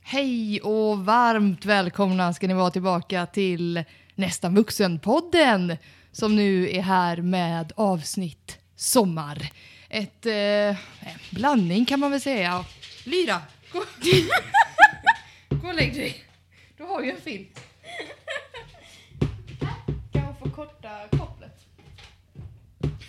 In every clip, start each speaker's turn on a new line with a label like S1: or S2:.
S1: Hej och varmt välkomna ska ni vara tillbaka till Nästan vuxen-podden som nu är här med avsnitt Sommar. Ett eh, en blandning kan man väl säga. Lyra, gå, gå och lägg dig. Du har ju en film.
S2: Kan man få korta kopplet?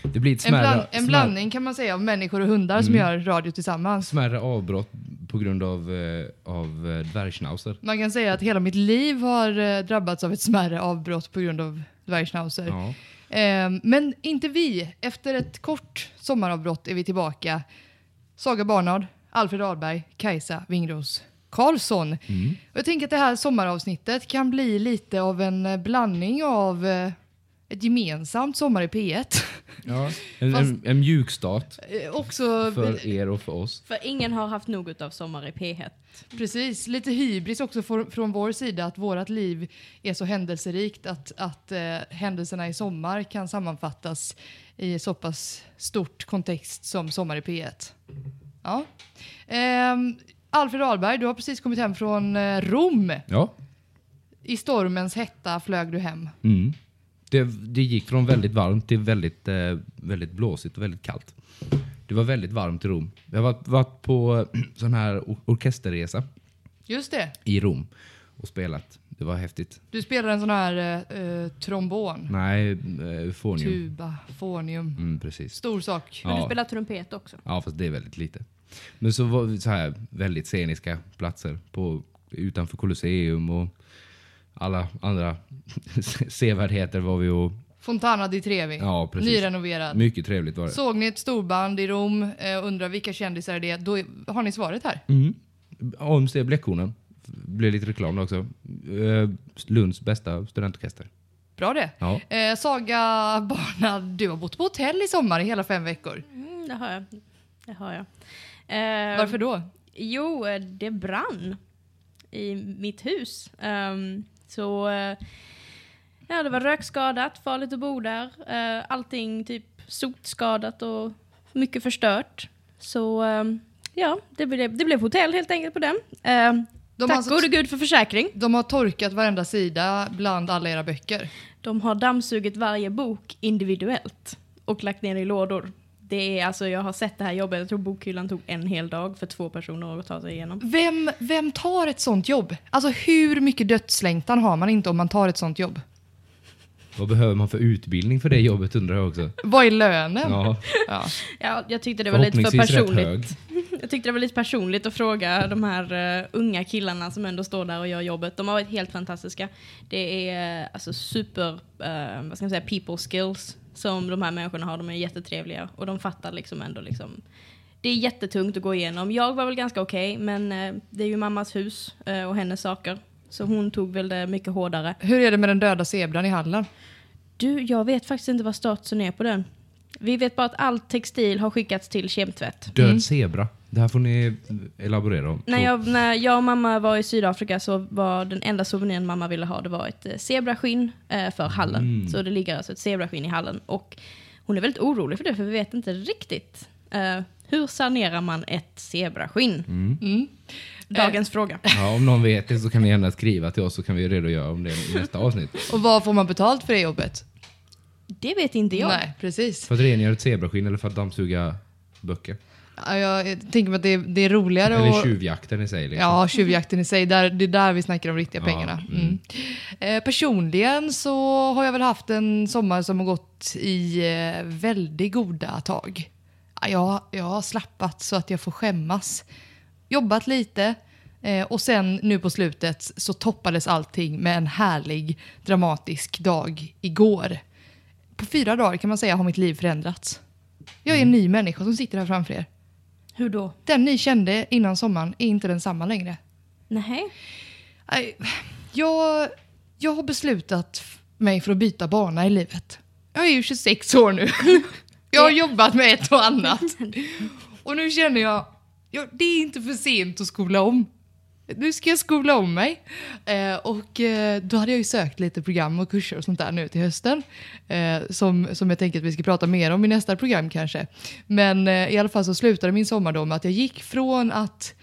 S3: Det blir ett
S1: En,
S3: smärre,
S1: bland, en
S3: smär-
S1: blandning kan man säga av människor och hundar som gör radio tillsammans.
S3: smärre avbrott på grund av, eh, av eh, dvärgschnauzer.
S1: Man kan säga att hela mitt liv har eh, drabbats av ett smärre avbrott på grund av dvärgschnauzer.
S3: Ja.
S1: Ehm, men inte vi. Efter ett kort sommaravbrott är vi tillbaka. Saga Barnard, Alfred Ahlberg, Kajsa Wingros Karlsson.
S3: Mm.
S1: Och jag tänker att det här sommaravsnittet kan bli lite av en eh, blandning av eh, ett gemensamt Sommar i P1.
S3: En,
S1: Fast-
S3: en, en mjukstart
S1: Eh, Också
S3: för er och för oss.
S2: För ingen har haft något av Sommar i P1.
S1: Precis, lite hybris också för, från vår sida att vårt liv är så händelserikt att, att eh, händelserna i sommar kan sammanfattas i så pass stort kontext som Sommar i P1. Ja. Ehm, Alfred Ahlberg, du har precis kommit hem från eh, Rom.
S3: Ja.
S1: I stormens hetta flög du hem.
S3: Mm. Det, det gick från väldigt varmt till väldigt, eh, väldigt blåsigt och väldigt kallt. Det var väldigt varmt i Rom. Jag har varit, varit på eh, sån här or- orkesterresa
S1: Just det,
S3: i Rom och spelat. Det var häftigt.
S1: du spelar en sån här eh, eh, trombon,
S3: Nej, eh, eufonium.
S1: tuba, fonium.
S3: Mm, precis.
S1: Stor sak.
S2: Men du
S3: Ja.
S2: spelar trumpet också.
S3: Ja, fast det är väldigt lite. Men så var vi så här väldigt sceniska platser på, utanför Colosseum och alla andra sevärdheter var vi och
S1: Fontana di Trevi,
S3: Ja, precis.
S1: nyrenoverad.
S3: mycket trevligt var det.
S1: Såg ni ett storband i Rom, eh, undrar vilka kändisar det är, då är- har ni svaret här.
S3: Mm. AMC Bleckkornen, blev lite reklam där också. Eh, Lunds bästa studentorkester.
S1: Bra det.
S3: Ja.
S1: Eh, Saga Barnard, du har bott på hotell i sommar i hela fem veckor.
S2: Mm, det har jag. Det har jag. Eh,
S1: Varför då?
S2: Jo, eh, det brann i mitt hus. Ehm, så eh, ja, det var rökskadat, farligt att bo där. Eh, allting typ sotskadat och mycket förstört. Så ehm, ja, det blev, det blev hotell helt enkelt på den. Ehm,
S1: De har,
S2: tack
S1: alltså-
S2: gode gud för försäkring.
S1: de har torkat varenda sida bland alla era böcker.
S2: De har dammsugit varje bok individuellt och lagt ner i lådor. Det är alltså, jag har sett det här jobbet, jag tror bokhyllan tog en hel dag för två personer att ta sig igenom.
S1: Vem, vem tar ett sånt jobb? Alltså hur mycket dödslängtan har man inte om man tar ett sånt jobb?
S3: Vad behöver man för utbildning för det jobbet undrar jag också.
S1: Vad är lönen?
S3: Ja,
S1: Ja.
S2: Ja, jag tyckte det var lite för
S3: förhoppningsvis rätt
S2: personligt.
S3: hög.
S2: Jag tyckte det var lite personligt att fråga de här eh, unga killarna som ändå står där och gör jobbet. De har varit helt fantastiska. Det är eh, alltså super, eh, vad ska man säga, people skills som de här människorna har. De är jättetrevliga och de fattar liksom ändå liksom. Det är jättetungt att gå igenom. Jag var väl ganska okej, men eh, det är ju mammas hus eh, och hennes saker. Så hon tog väl det mycket hårdare.
S1: Hur är det med den döda zebran i hallen?
S2: Du, jag vet faktiskt inte vad statusen är på den. Vi vet bara att all textil har skickats till kemtvätt.
S3: Död zebra. Det här får ni elaborera om.
S2: När Mm. jag, när jag och mamma var i Sydafrika så var den enda souveniren mamma ville ha det var ett eh, zebraskinn eh, för hallen. Så det ligger alltså ett zebraskinn i hallen. Och hon är väldigt orolig för det för vi vet inte riktigt. Eh, hur sanerar man ett Eh, zebraskinn? Dagens fråga.
S3: Ja, om någon vet det så kan ni gärna skriva till oss så kan vi redogöra om det i nästa avsnitt.
S1: Och vad får man betalt för det jobbet?
S2: Det vet inte jag.
S1: Nej, precis.
S3: För att rengöra ett zebraskinn eller för att dammsuga böcker?
S1: Ja, Jag tänker mig att det är, det är roligare
S3: Eller
S1: att...
S3: tjuvjakten i sig. Liksom.
S1: Ja, tjuvjakten i sig. Där, det är där vi snackar om riktiga
S3: Ja,
S1: pengarna. Mm. Eh, personligen så har jag väl haft en sommar som har gått i eh, väldigt goda tag. Ja, Jag, jag har slappat så att jag får skämmas. Jobbat lite eh, och sen nu på slutet så toppades allting med en härlig dramatisk dag igår. På fyra dagar kan man säga har mitt liv förändrats. Jag är en ny människa som sitter här framför er.
S2: Hur då?
S1: Den ni kände innan sommaren är inte densamma längre.
S2: Nej.
S1: Nej, Jag, jag har beslutat f- mig för att byta bana i livet. Jag är ju 26 år nu. Jag har jobbat med ett och annat. Och nu känner jag, ja, det är inte för sent att skola om. Nu ska jag skola om mig. Eh, och eh, då hade jag ju sökt lite program och kurser och sånt där nu till hösten. Eh, som, som jag tänker att vi ska prata mer om i nästa program kanske. Men eh, i alla fall så slutade min sommar då med att jag gick från att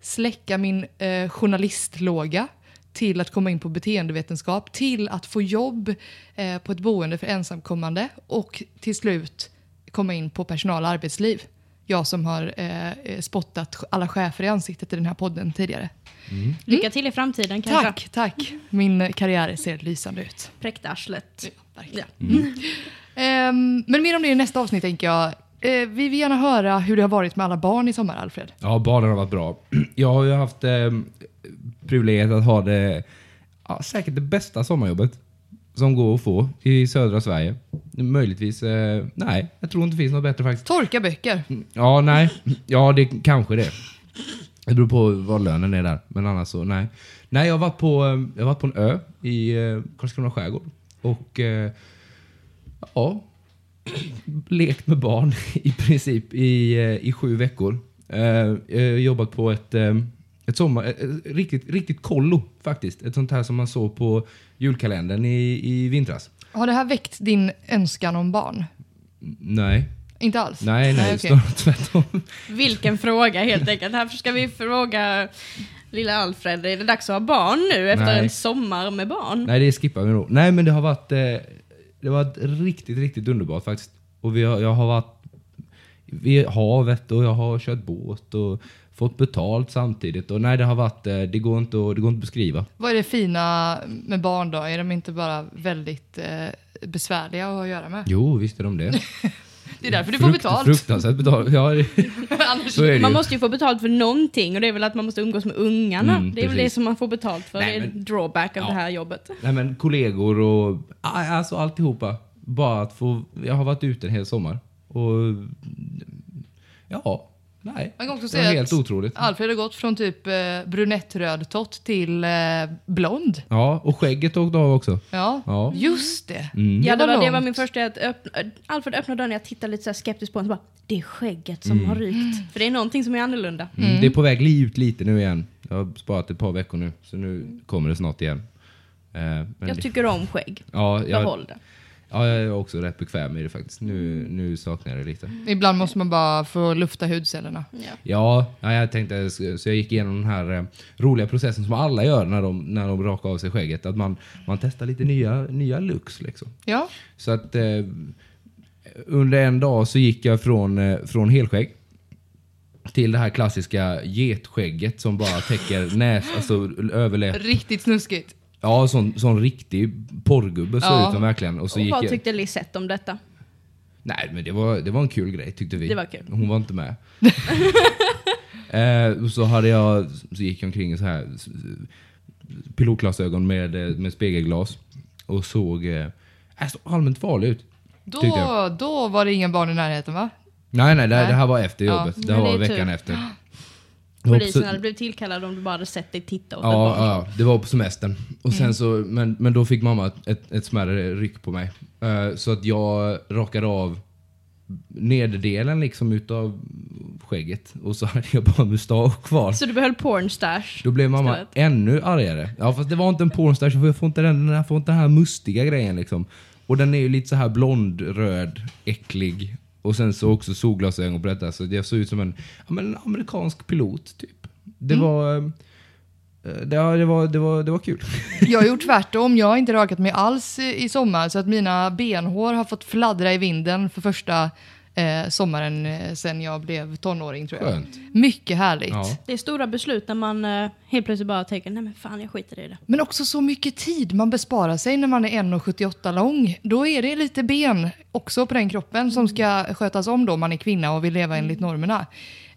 S1: släcka min eh, journalistlåga till att komma in på beteendevetenskap, till att få jobb eh, på ett boende för ensamkommande och till slut komma in på personal och arbetsliv. Jag som har eh, eh, spottat alla chefer i ansiktet i den här podden tidigare.
S2: Lycka till i framtiden kanske.
S1: Tack, tack. Min karriär ser lysande ut.
S2: Präkta arslet.
S1: Verkligen. Ehm, men mer om det i nästa avsnitt tänker jag. Eh, vi vill gärna höra hur det har varit med alla barn i sommar, Alfred.
S3: Ja, barnen har varit bra. Jag har ju haft eh, privilegiet att ha det ja, säkert det bästa sommarjobbet som går att få i södra Sverige. Möjligtvis, eh, nej, jag tror inte det finns något bättre faktiskt.
S1: Torka böcker.
S3: Ja, nej. Ja, det kanske det. Det beror på vad lönen är där. Men annars så, nej. Nej, jag har varit på, eh, jag har varit på en ö i eh, Karlskrona skärgård. Och eh, ja, lekt med barn i princip i, eh, i sju veckor. Eh, Jag har jobbat på ett, eh, ett sommar, eh, eh, riktigt, riktigt kollo faktiskt. Ett sånt här som man såg på julkalendern i, i vintras.
S1: Har det här väckt din önskan om barn?
S3: Nej,
S1: Inte alls?
S3: nej, nej,
S1: okej.
S3: snarare tvärtom.
S2: Vilken fråga helt enkelt. Här ska vi fråga lilla Alfred, är det dags att ha barn nu efter
S3: Nej.
S2: en sommar med barn?
S3: Mm. Nej, det skippar vi nog. Nej, men det har varit, eh, det har varit riktigt, riktigt underbart faktiskt. Och vi har, jag har varit vid havet och jag har kört båt och fått betalt samtidigt. Och nej, det har varit, eh, det går inte att, det går inte att beskriva.
S1: Vad är det fina med barn då? Är de inte bara väldigt eh, besvärliga att ha att göra med?
S3: Jo, visst är de det.
S1: Det är därför du får
S3: Frukt-
S1: betalt.
S3: Fruktansvärt betalt. Ja, det-
S1: Annars,
S3: så är det ju.
S2: Man måste ju få betalt för någonting och det är väl att man måste umgås med ungarna.
S3: Mm,
S2: det är väl det
S3: precis.
S2: som man får betalt för.
S3: Nej,
S2: det är
S3: men-
S2: en drawback
S3: Ja.
S2: av
S3: Mm,
S2: det här jobbet.
S3: Nej men kollegor och aj, alltså alltihopa. Bara att få, jag har varit ute en hel sommar. Och ja, nej.
S1: Man kan också
S3: Det var
S1: säga
S3: helt
S1: att-
S3: otroligt.
S1: Alfred har gått från typ eh, brunettrödtott till eh, blond.
S3: Ja, och skägget åkte av också.
S1: Ja,
S3: Ja.
S1: just det.
S3: Mm.
S2: Ja, det, var, det var
S1: långt.
S2: min första, att öppna, äh, Alfred öppnade dörren, jag tittade lite så här skeptiskt på honom och bara, det är skägget som har rykt. För det är någonting som är annorlunda.
S3: Mm. Det är på väg li- ut lite nu igen. Jag har sparat ett par veckor nu, så nu kommer det snart igen. Eh, men
S2: Mm. Jag
S3: det-
S2: tycker om skägg.
S3: ja, jag,
S2: Behåll det.
S3: ja, jag är också rätt bekväm i det faktiskt. Nu, nu saknar jag det lite.
S2: Mm.
S1: Ibland måste man bara få lufta hudcellerna.
S2: Ja.
S3: Ja, ja, jag tänkte så jag gick igenom den här eh, roliga processen som alla gör när de, när de rakar av sig skägget. Att man, man testar lite nya, nya looks liksom.
S1: Ja,
S3: Så att eh, under en dag så gick jag från, eh, från helskägg till det här klassiska getskägget som bara täcker näs, alltså överläpp.
S1: riktigt snuskigt.
S3: Ja, sån, sån riktig porrgubbe såg
S1: Ja.
S3: ut som verkligen. Och så
S2: och
S3: gick
S2: vad
S3: jag,
S2: tyckte Lisette om detta?
S3: nej, men det var, det var en kul grej tyckte vi.
S2: Det var kul.
S3: Hon var inte med. eh, och så, hade jag, så gick jag omkring i så här s- pilotglasögon med, eh, med spegelglas och såg eh, jag såg allmänt farlig ut. Tyckte
S1: Då,
S3: jag.
S1: då var det inga barn i närheten va?
S3: Nej, nej, det,
S1: Nej.
S3: det här var efter
S1: Ja,
S3: jobbet. det
S2: men
S3: här
S2: det
S3: var
S2: är
S3: veckan
S2: tur.
S3: efter.
S2: Polisen
S3: Och
S2: hade blivit tillkallad om du bara hade sett dig titta åt ett
S3: Ja,
S2: barn.
S3: ja, det var på semestern. Och sen så, men, men då fick mamma ett, ett, ett smärre ryck på mig. Eh, så att jag rakade av nederdelen liksom utav skägget och så hade jag bara mustasch kvar.
S2: Så du behöll pornstash?
S3: Då blev mamma
S2: Istället.
S3: ännu argare. Ja fast det var inte en pornstash, för jag får inte den, jag får inte den här mustiga grejen liksom. Och den är ju lite så här blond, röd, äcklig. Och sen så också solglasögon på detta. Så jag såg ut som en, ja, men en amerikansk pilot typ. Det var... eh, Det, ja, det, var, det, var, det var kul.
S1: Jag har gjort tvärtom, jag har inte rakat mig alls i i sommar så att mina benhår har fått fladdra i vinden för första eh, sommaren eh, sen jag blev tonåring tror jag.
S3: Skönt.
S1: Mycket härligt.
S3: Ja.
S2: Det är stora beslut när man eh, helt plötsligt bara tänker, nej men fan jag skiter i det.
S1: Men också så mycket tid man besparar sig när man är 1,78 lång. Då är det lite ben också på den kroppen som ska skötas om då om man är kvinna och vill leva enligt normerna.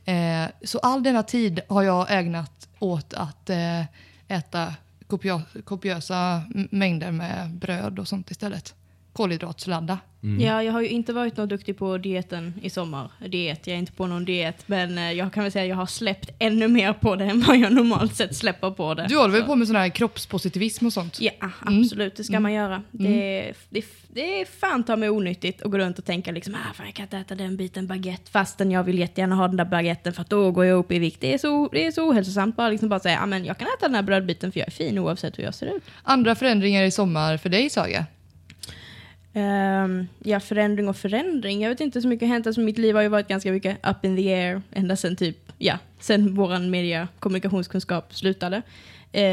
S1: Eh, så all denna tid har jag ägnat åt att eh, äta kopia- kopiösa m- mängder med bröd och sånt istället. Kolhydratsladda.
S2: Ja, jag har ju inte varit något duktig på dieten i sommar. Diet, jag är inte på någon diet. Men eh, jag kan väl säga att jag har släppt ännu mer på det än vad jag normalt sett släpper på det.
S1: Du håller väl på med sån här kroppspositivism och sånt?
S2: Ja, absolut. Det ska man göra. Det, är- det, är- det är fan ta mig onyttigt att gå runt och tänka liksom, ah, fan, jag kan inte äta den biten baguette fastän jag vill jättegärna ha den där baguetten för att då går jag upp i vikt. Det är så, det är så ohälsosamt. Bara, liksom bara säga, ah, men jag kan äta den här brödbiten för jag är fin oavsett hur jag ser ut.
S1: Andra förändringar i sommar för dig Saga?
S2: Ehm, ja, förändring och förändring. Jag vet inte så mycket har hänt. Alltså, mitt liv har ju varit ganska mycket up in the air ända sedan typ ja, sen vår media kommunikationskunskap slutade. Eh,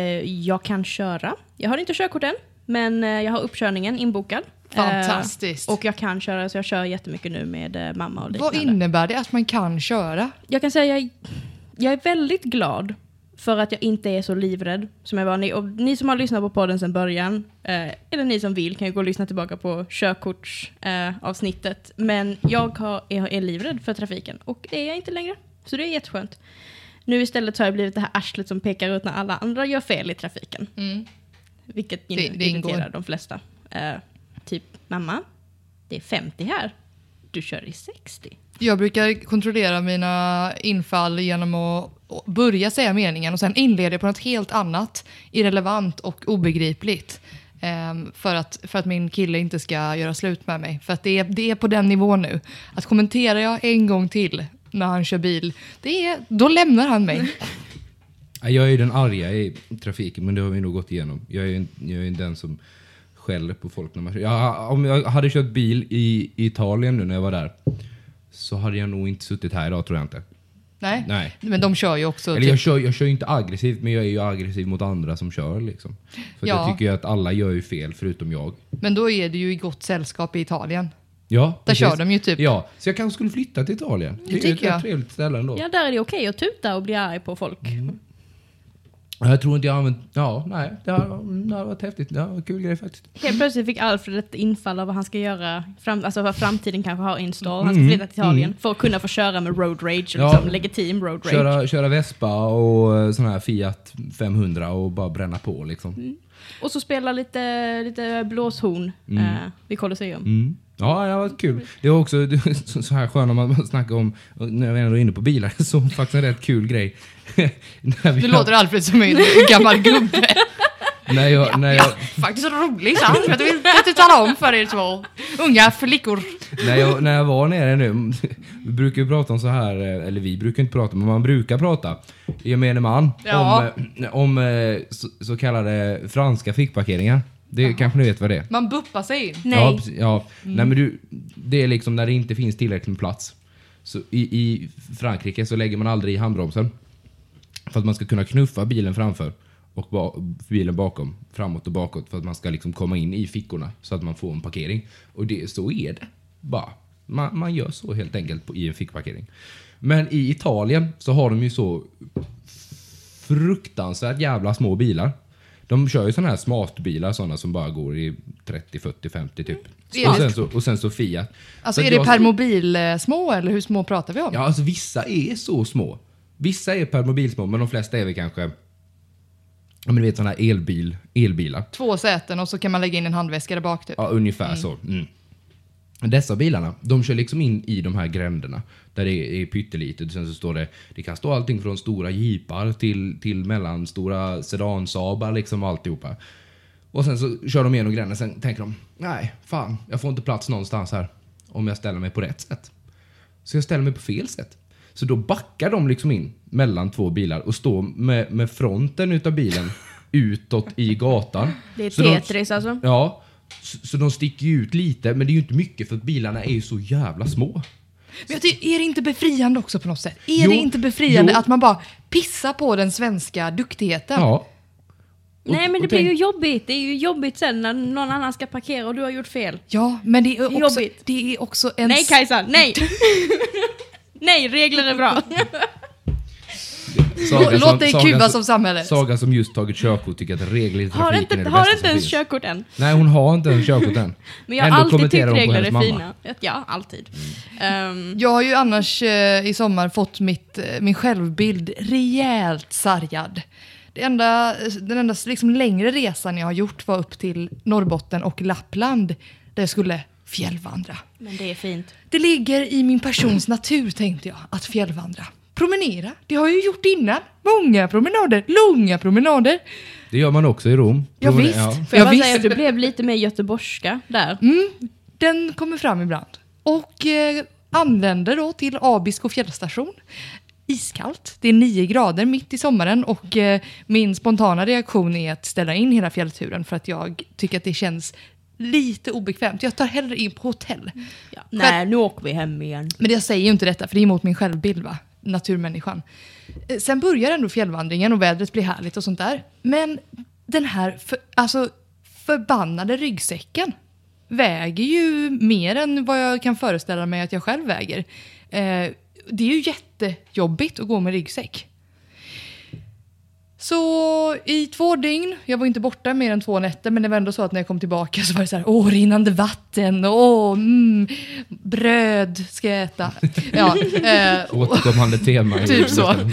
S2: jag kan köra. Jag har inte körkort än, men eh, jag har uppkörningen inbokad. Eh,
S1: Fantastiskt.
S2: och jag kan köra, så jag kör jättemycket nu med eh, mamma och
S1: Vad
S2: liknande.
S1: innebär det att man kan köra?
S2: Jag kan säga, jag, jag är väldigt glad för att jag inte är så livrädd som jag var. Ni, och ni som har lyssnat på podden sedan början, eh, eller ni som vill kan ju gå och lyssna tillbaka på körkortsavsnittet. Eh, avsnittet. Men jag har, är, är livrädd för trafiken och det är jag inte längre. Så det är jätteskönt. Nu istället så har jag blivit det här arslet som pekar ut när alla andra gör fel i trafiken. Vilket
S1: Mm. Det-
S2: det,
S1: det ingår.
S2: irriterar de flesta. Eh, typ, mamma, det är 50 här. Du kör i 60.
S1: Jag brukar kontrollera mina infall genom att börja säga meningen och sen inleder på något helt annat, irrelevant och obegripligt. Ehm, för, att, för att min kille inte ska göra slut med mig. För att det är, det är på den nivån nu. Att kommenterar jag en gång till när han kör bil, det är, då lämnar han mig.
S3: Ja, Jag är ju den arga i trafiken, men det har vi nog gått igenom. Jag är ju jag är ju den som skäller på folk när man kör. Jag, om jag hade kört bil i Italien nu när jag var där, så hade jag nog inte suttit här idag tror jag inte.
S1: Nej.
S3: Nej.
S1: Men de kör ju också.
S3: Eller jag
S1: typ,
S3: kör, jag kör ju inte aggressivt, men jag är ju aggressiv mot andra som kör liksom. För att
S1: Ja.
S3: jag tycker ju att alla gör ju fel förutom jag.
S1: men då är det ju i gott sällskap i Italien.
S3: Ja,
S1: Där
S3: precis.
S1: kör de ju typ-
S3: Ja, så jag kanske skulle flytta till Italien. Det, är ju ett
S1: tycker jag.
S3: rätt trevligt ställe ändå.
S2: Ja, där är det okej att tuta och bli arg på folk.
S3: Mm. Jag tror inte jag använt... Ja, nej. Det har, mm, det har varit häftigt. Det var en kul grej faktiskt.
S2: Helt plötsligt fick Alfred ett infall av vad han ska göra, fram, alltså vad framtiden kanske har install. Han ska flytta till Italien för att kunna få köra med road rage,
S3: Mm. Ja.
S2: liksom legitim road rage.
S3: Köra, köra Vespa och eh, sån här Fiat 500 och bara bränna på liksom.
S1: Mm.
S2: Och så spela lite, lite blåshorn eh, vid Colosseum.
S3: Mm. Ja, det har varit kul. Det var också det är så- så här skönt när man snackar om, och när vi ändå är inne på bilar, så faktiskt en rätt kul grej. när vi-
S1: Du låter Alfred som en gammal gubbe.
S3: när jag, när jag,
S1: Faktiskt rolig sant? Jag vill inte tala om för er två unga flickor.
S3: när, jag, när jag var nere nu, vi brukar ju prata om så här, eh, eller vi brukar inte prata, men man brukar prata, gemene man,
S1: Ja.
S3: om, eh, om eh, så, så kallade franska fickparkeringar. Det kanske ni vet vad det är?
S1: Man buppar sig in.
S2: Nej.
S3: Ja, precis. ja. Nej, men du, det är liksom när det inte finns tillräckligt med plats. Så i, I Frankrike så lägger man aldrig i handbromsen. För att man ska kunna knuffa bilen framför och ba bilen bakom. Framåt och bakåt för att man ska liksom komma in i fickorna så att man får en parkering. Och det, så är det bara. Man, man gör så helt enkelt på, i en fickparkering. Men i Italien så har de ju så fruktansvärt jävla små bilar. De kör ju såna här smartbilar, såna som bara går i 30, 40, 50 typ.
S1: Ja.
S3: Och sen så, och sen så Fiat.
S1: Alltså
S3: Så
S1: är
S3: att
S1: det
S3: jag-
S1: per mobil eh, små eller hur små pratar vi om?
S3: Ja, alltså vissa är så små. Vissa är per mobil små, men de flesta är väl kanske... Ja, men du vet såna här elbil, elbilar.
S1: Två säten och så kan man lägga in en handväska där bak typ.
S3: Ja, ungefär så. Mm. Dessa bilarna, de kör liksom in i de här gränderna där det är pyttelitet. Sen så står det, det kan stå allting från stora jeepar till, till mellanstora sedansabar liksom och alltihopa. Och sen så kör de igenom gränderna, sen tänker de, nej, fan, jag får inte plats någonstans här om jag ställer mig på rätt sätt. Så jag ställer mig på fel sätt. Så då backar de liksom in mellan två bilar och står med, med fronten utav bilen utåt i gatan.
S2: Det är
S3: Så de-
S2: Tetris alltså.
S3: Ja, så, så de sticker ju ut lite, men det är ju inte mycket för att bilarna är ju så jävla små.
S1: Men jag tycker, är det inte befriande också på något sätt? Är
S3: Jo,
S1: det inte befriande
S3: jo.
S1: att man bara pissar på den svenska duktigheten?
S3: Ja. Och-
S2: Nej men det
S3: och
S2: blir
S3: tänk-
S2: ju jobbigt. Det är ju jobbigt sen när någon annan ska parkera och du har gjort fel.
S1: Ja, men det är också,
S2: Jobbigt.
S1: det är också en...
S2: Nej Kajsa, nej! nej, regler är bra.
S1: Lå-
S3: Saga
S1: Låt dig
S3: Saga
S1: kuvas
S3: som-
S1: av samhället.
S3: Saga som just tagit körkort tycker att regler i trafiken
S2: har
S3: är
S2: inte,
S3: det
S2: har
S3: bästa
S2: inte
S3: som
S2: ens
S3: finns.
S2: körkort än.
S3: Nej, hon har inte ens körkort än.
S2: Men jag har
S3: Ändå
S2: alltid tyckt
S3: kommenterar hon på
S2: regler
S3: hennes
S2: är
S3: mamma. Mm.
S2: fina. Ja, alltid. Ehm,
S1: Jag har ju annars eh, i sommar fått mitt, eh, min självbild rejält sargad. Det enda, den enda liksom, längre resan jag har gjort var upp till Norrbotten och Lappland där jag skulle fjällvandra.
S2: Men det är fint.
S1: Det ligger i min persons natur, tänkte jag, att fjällvandra. Promenera, det har jag ju gjort innan. Många promenader, långa promenader.
S3: Det gör man också i Rom.
S1: Ja,
S3: Hon är-
S1: visst.
S2: Får jag bara
S1: Ja,
S2: säga att
S1: visst.
S2: du blev lite mer göteborgska där.
S1: Den kommer fram ibland. Och eh, anländer då till Abisko fjällstation. Iskallt, det är 9 grader mitt i sommaren och eh, min spontana reaktion är att ställa in hela fjällturen för att jag tycker att det känns lite obekvämt. Jag tar hellre in på hotell.
S2: Ja. Nej, nu åker vi hem igen.
S1: Men jag säger ju inte detta för det är emot min självbild va? naturmänniskan. Eh, Sen börjar ändå fjällvandringen och vädret blir härligt och sånt där. Men den här för, alltså, förbannade ryggsäcken väger ju mer än vad jag kan föreställa mig att jag själv väger. Eh, det är ju jättejobbigt att gå med ryggsäck. Så i två dygn, jag var inte borta mer än två nätter, men det var ändå så att när jag kom tillbaka så var det så här, åh rinnande vatten, åh mm, bröd ska jag äta. Ja, eh,
S3: Återkommande tema. i-
S1: Typ så.
S3: Mm.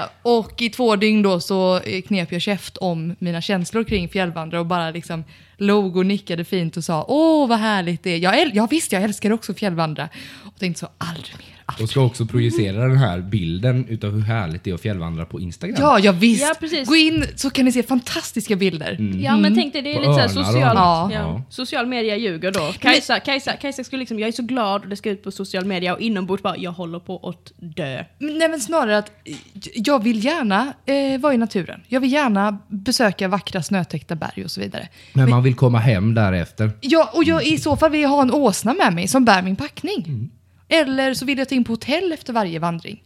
S1: Eh, och i två dygn då så eh, knep jag käft om mina känslor kring fjällvandrare och bara liksom log och nickade fint och sa åh vad härligt det är. Jag äl- ja visst, jag älskar också fjällvandra. Och tänkte så aldrig mer. aldrig-
S3: Och ska också projicera den här bilden utav hur härligt det är att fjällvandra på Instagram.
S1: Ja, ja visst.
S2: Ja, precis.
S1: Gå in så kan ni se fantastiska bilder.
S2: Ja men tänk dig, det är
S3: På
S2: lite såhär
S3: öarna då.
S2: social,
S1: Ja.
S2: ja.
S3: Ja.
S2: social media ljuger då. Kajsa, Kajsa, Kajsa skulle liksom, jag är så glad och det ska ut på social media och inombords bara, jag håller på att dö.
S1: Men- Nej men snarare att eh, jag vill gärna eh, vara i naturen. Jag vill gärna besöka vackra snötäckta berg och så vidare.
S3: Men man vill komma hem därefter.
S1: Ja, och jag, i så fall vill jag ha en åsna med mig som bär min packning. Eller så vill jag ta in på hotell efter varje vandring.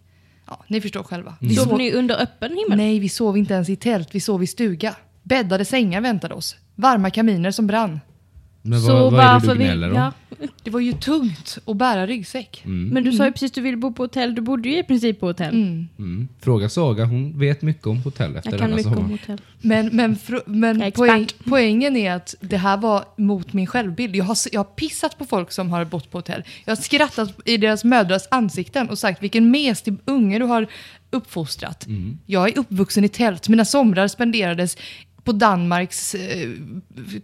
S1: Ja, ni förstår själva. Vi
S2: Sov
S1: sov,
S2: ni under öppen himmel?
S1: nej, vi sov inte ens i tält, vi sov i stuga. Bäddade sängar väntade oss. Varma kaminer som brann.
S3: Men vad, vad är det du gnäller om?
S2: ja.
S1: Det var ju tungt att bära ryggsäck.
S2: Men du sa ju precis att du ville bo på hotell, du bodde ju i princip på hotell.
S3: Mm. Fråga Saga, hon vet mycket om hotell efter alltså
S2: Jag kan
S3: denna
S2: mycket
S3: sommar.
S2: om hotell.
S1: Men, men, fr-
S2: Jag är
S1: men
S2: expert.
S1: poäng,
S2: Mm.
S1: poängen är att det här var mot min självbild. Jag har, s- jag har pissat på folk som har bott på hotell. Jag har skrattat i deras mödrars ansikten och sagt vilken mesig unge du har uppfostrat.
S3: Mm.
S1: Jag är uppvuxen i tält. Mina somrar spenderades på Danmarks eh,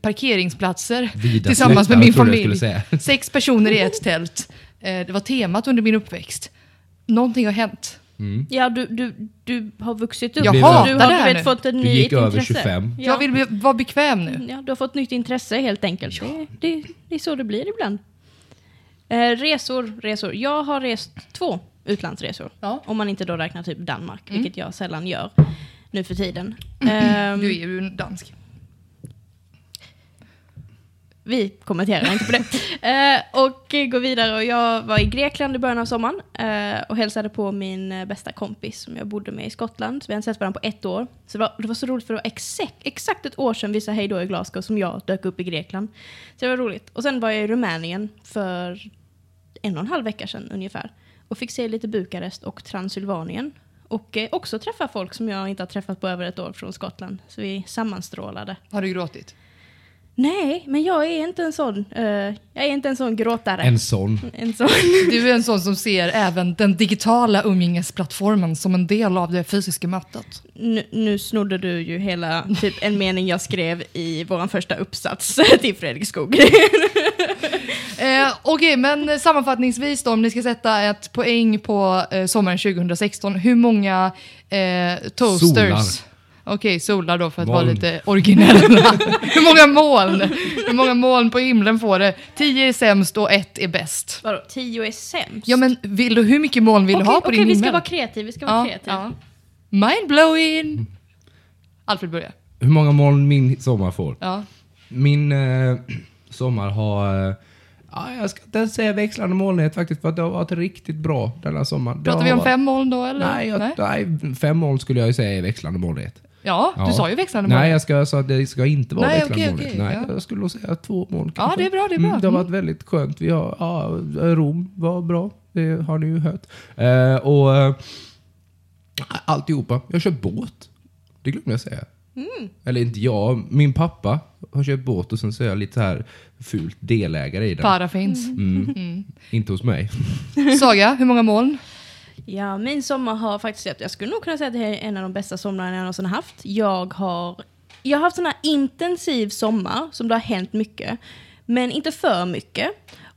S1: parkeringsplatser
S3: Vida
S1: tillsammans med
S3: släktar,
S1: min
S3: trodde jag
S1: familj.
S3: skulle säga.
S1: Sex personer i ett tält. Eh, det var temat under min uppväxt. Någonting har hänt.
S3: Mm.
S2: Ja, du, du, du har vuxit upp.
S1: Jag
S2: du
S1: hatar
S2: har
S1: det här
S2: du
S1: nu.
S2: vet, fått ett
S3: Du gick
S2: nytt
S3: över
S2: intresse.
S3: 25.
S2: Ja.
S1: Jag vill be- vara bekväm nu.
S2: Ja, du har fått nytt intresse helt enkelt. Det, det, det är så det blir ibland. Eh, resor, resor. Jag har rest två utlandsresor.
S1: Ja. Mm.
S2: Om man inte då räknar typ Danmark, vilket jag sällan gör nu för tiden. Ehm,
S1: Du är ju en dansk.
S2: Vi kommenterar inte på det. Eh, och eh, går vidare. Och jag var i Grekland i början av sommaren eh, och hälsade på min eh, bästa kompis som jag bodde med i Skottland. Vi hade sett varandra på ett år. Så det, var, det var så roligt för det var exakt, exakt ett år sedan vi sa hej då i Glasgow som jag dök upp i Grekland. Så det var roligt. Och sen var jag i Rumänien för en och en halv vecka sedan ungefär och fick se lite Bukarest och Transylvanien. Och eh, också träffa folk som jag inte har träffat på över ett år från Skottland. Så vi sammanstrålade.
S1: Har du gråtit?
S2: Nej, men jag är inte en sån. eh, jag är inte en sån gråtare.
S3: En sån.
S2: En sån.
S1: Du är en sån som ser även den digitala umgängesplattformen som en del av det fysiska mötet.
S2: Nu, nu snodde du ju hela typ en mening jag skrev i vår första uppsats till Fredrik Skog.
S1: Eh, Okej, men eh, sammanfattningsvis då, om ni ska sätta ett poäng på eh, sommaren 2016, hur många eh, toasters?
S3: Solar.
S1: Okej, solar då för att vara
S3: Moln.
S1: lite originella. hur många moln? Hur många moln på himlen får det? 10 är sämst och ett är bäst.
S2: Vadå, tio är sämst?
S1: Ja, men vill du, hur mycket moln vill du
S2: Okej,
S1: ha på
S2: okej,
S1: din
S2: vi
S1: himmel?
S2: ska vara kreativa. Vi ska vara kreativa.
S1: ja. Mindblowing! Alfred börjar.
S3: Hur många moln min sommar får?
S1: Ja.
S3: Min eh, sommar har... Eh, ja, jag ska inte ens säga växlande molnighet faktiskt för att det har varit riktigt bra denna sommar. Det
S1: Pratar
S3: har
S1: vi om
S3: varit-
S1: fem moln då eller?
S3: Nej, jag, nej. fem moln skulle jag ju säga är växlande molnighet.
S1: Ja, du
S3: Ja.
S1: sa ju växlande moln.
S3: Nej, jag, ska, jag sa att det ska inte vara
S1: Nej,
S3: växlande
S1: okej,
S3: molnighet.
S1: okej,
S3: Nej,
S1: ja.
S3: Jag skulle nog säga två moln
S1: Ja, det är bra, det är bra.
S3: Mm, det har varit väldigt skönt. Vi har, ja, Rom var bra. Det har ni ju hört. Eh, och eh, alltihopa. Jag har köpt båt. Det glömde jag säga.
S1: Mm.
S3: Eller inte jag. Min pappa har köpt båt och sen så är jag lite så här fult delägare i den.
S1: Parafins.
S3: Mm. Inte hos mig.
S1: Mm. Saga, hur många moln?
S2: Ja, min sommar har faktiskt sett, jag skulle nog kunna säga att det här är en av de bästa somrarna jag någonsin har haft. Jag har, jag har haft sån här intensiv sommar som det har hänt mycket, men inte för mycket.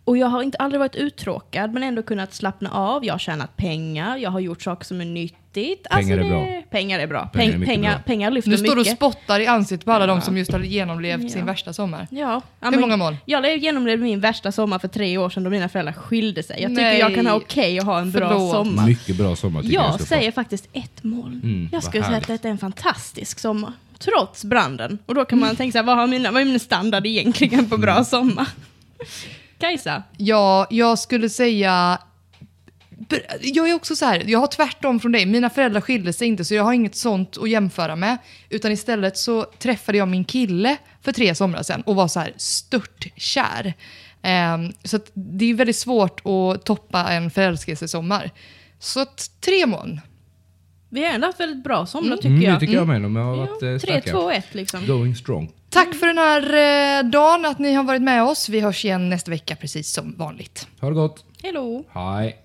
S2: Och jag har inte aldrig varit uttråkad men ändå kunnat slappna av. Jag har tjänat pengar, jag har gjort saker som är nyttigt. Alltså,
S3: Pengar är
S2: det-
S3: bra.
S2: Pengar är bra.
S3: Pengar är
S2: Peng,
S3: mycket
S2: pengar,
S3: bra.
S2: pengar lyfter
S1: Nu står du och
S2: mycket.
S1: spottar i ansiktet på alla de som just har genomlevt sin
S2: Ja.
S1: värsta sommar.
S2: Ja. Ja,
S1: Hur
S2: men
S1: många mål?
S2: Jag genomlevde min värsta sommar för tre år sedan då mina föräldrar skilde sig. Jag tycker
S1: Nej.
S2: jag kan ha okej att ha en bra
S1: Förlåt.
S2: sommar.
S3: Mycket bra sommar tycker jag.
S2: Jag
S3: ska få.
S2: säger faktiskt ett moln.
S3: Mm,
S2: jag
S3: vad
S2: skulle säga att
S3: härligt.
S2: det är en fantastisk sommar. Trots branden. Och då kan man tänka sig, vad, har mina, vad är min standard egentligen
S3: Mm.
S2: på bra sommar? Kajsa?
S1: Ja, jag skulle säga Jag är också så här, jag har tvärtom från dig. Mina föräldrar skilde sig inte så jag har inget sånt att jämföra med. Utan istället så träffade jag min kille för tre somrar sedan och var så här störtkär. Ehm, så att det är väldigt svårt att toppa en förälskelsesommar. Så att tre mån.
S2: Vi har ändå haft väldigt bra somrar tycker
S3: Mm, det
S2: jag.
S3: tycker jag med. De har varit eh,
S2: ja, 3,
S3: starka.
S2: 2, 1 liksom.
S3: Going strong.
S1: Tack för den här eh, dagen, att ni har varit med oss. Vi hörs igen nästa vecka precis som vanligt.
S3: Ha det gott.
S2: Hello.
S3: Hej.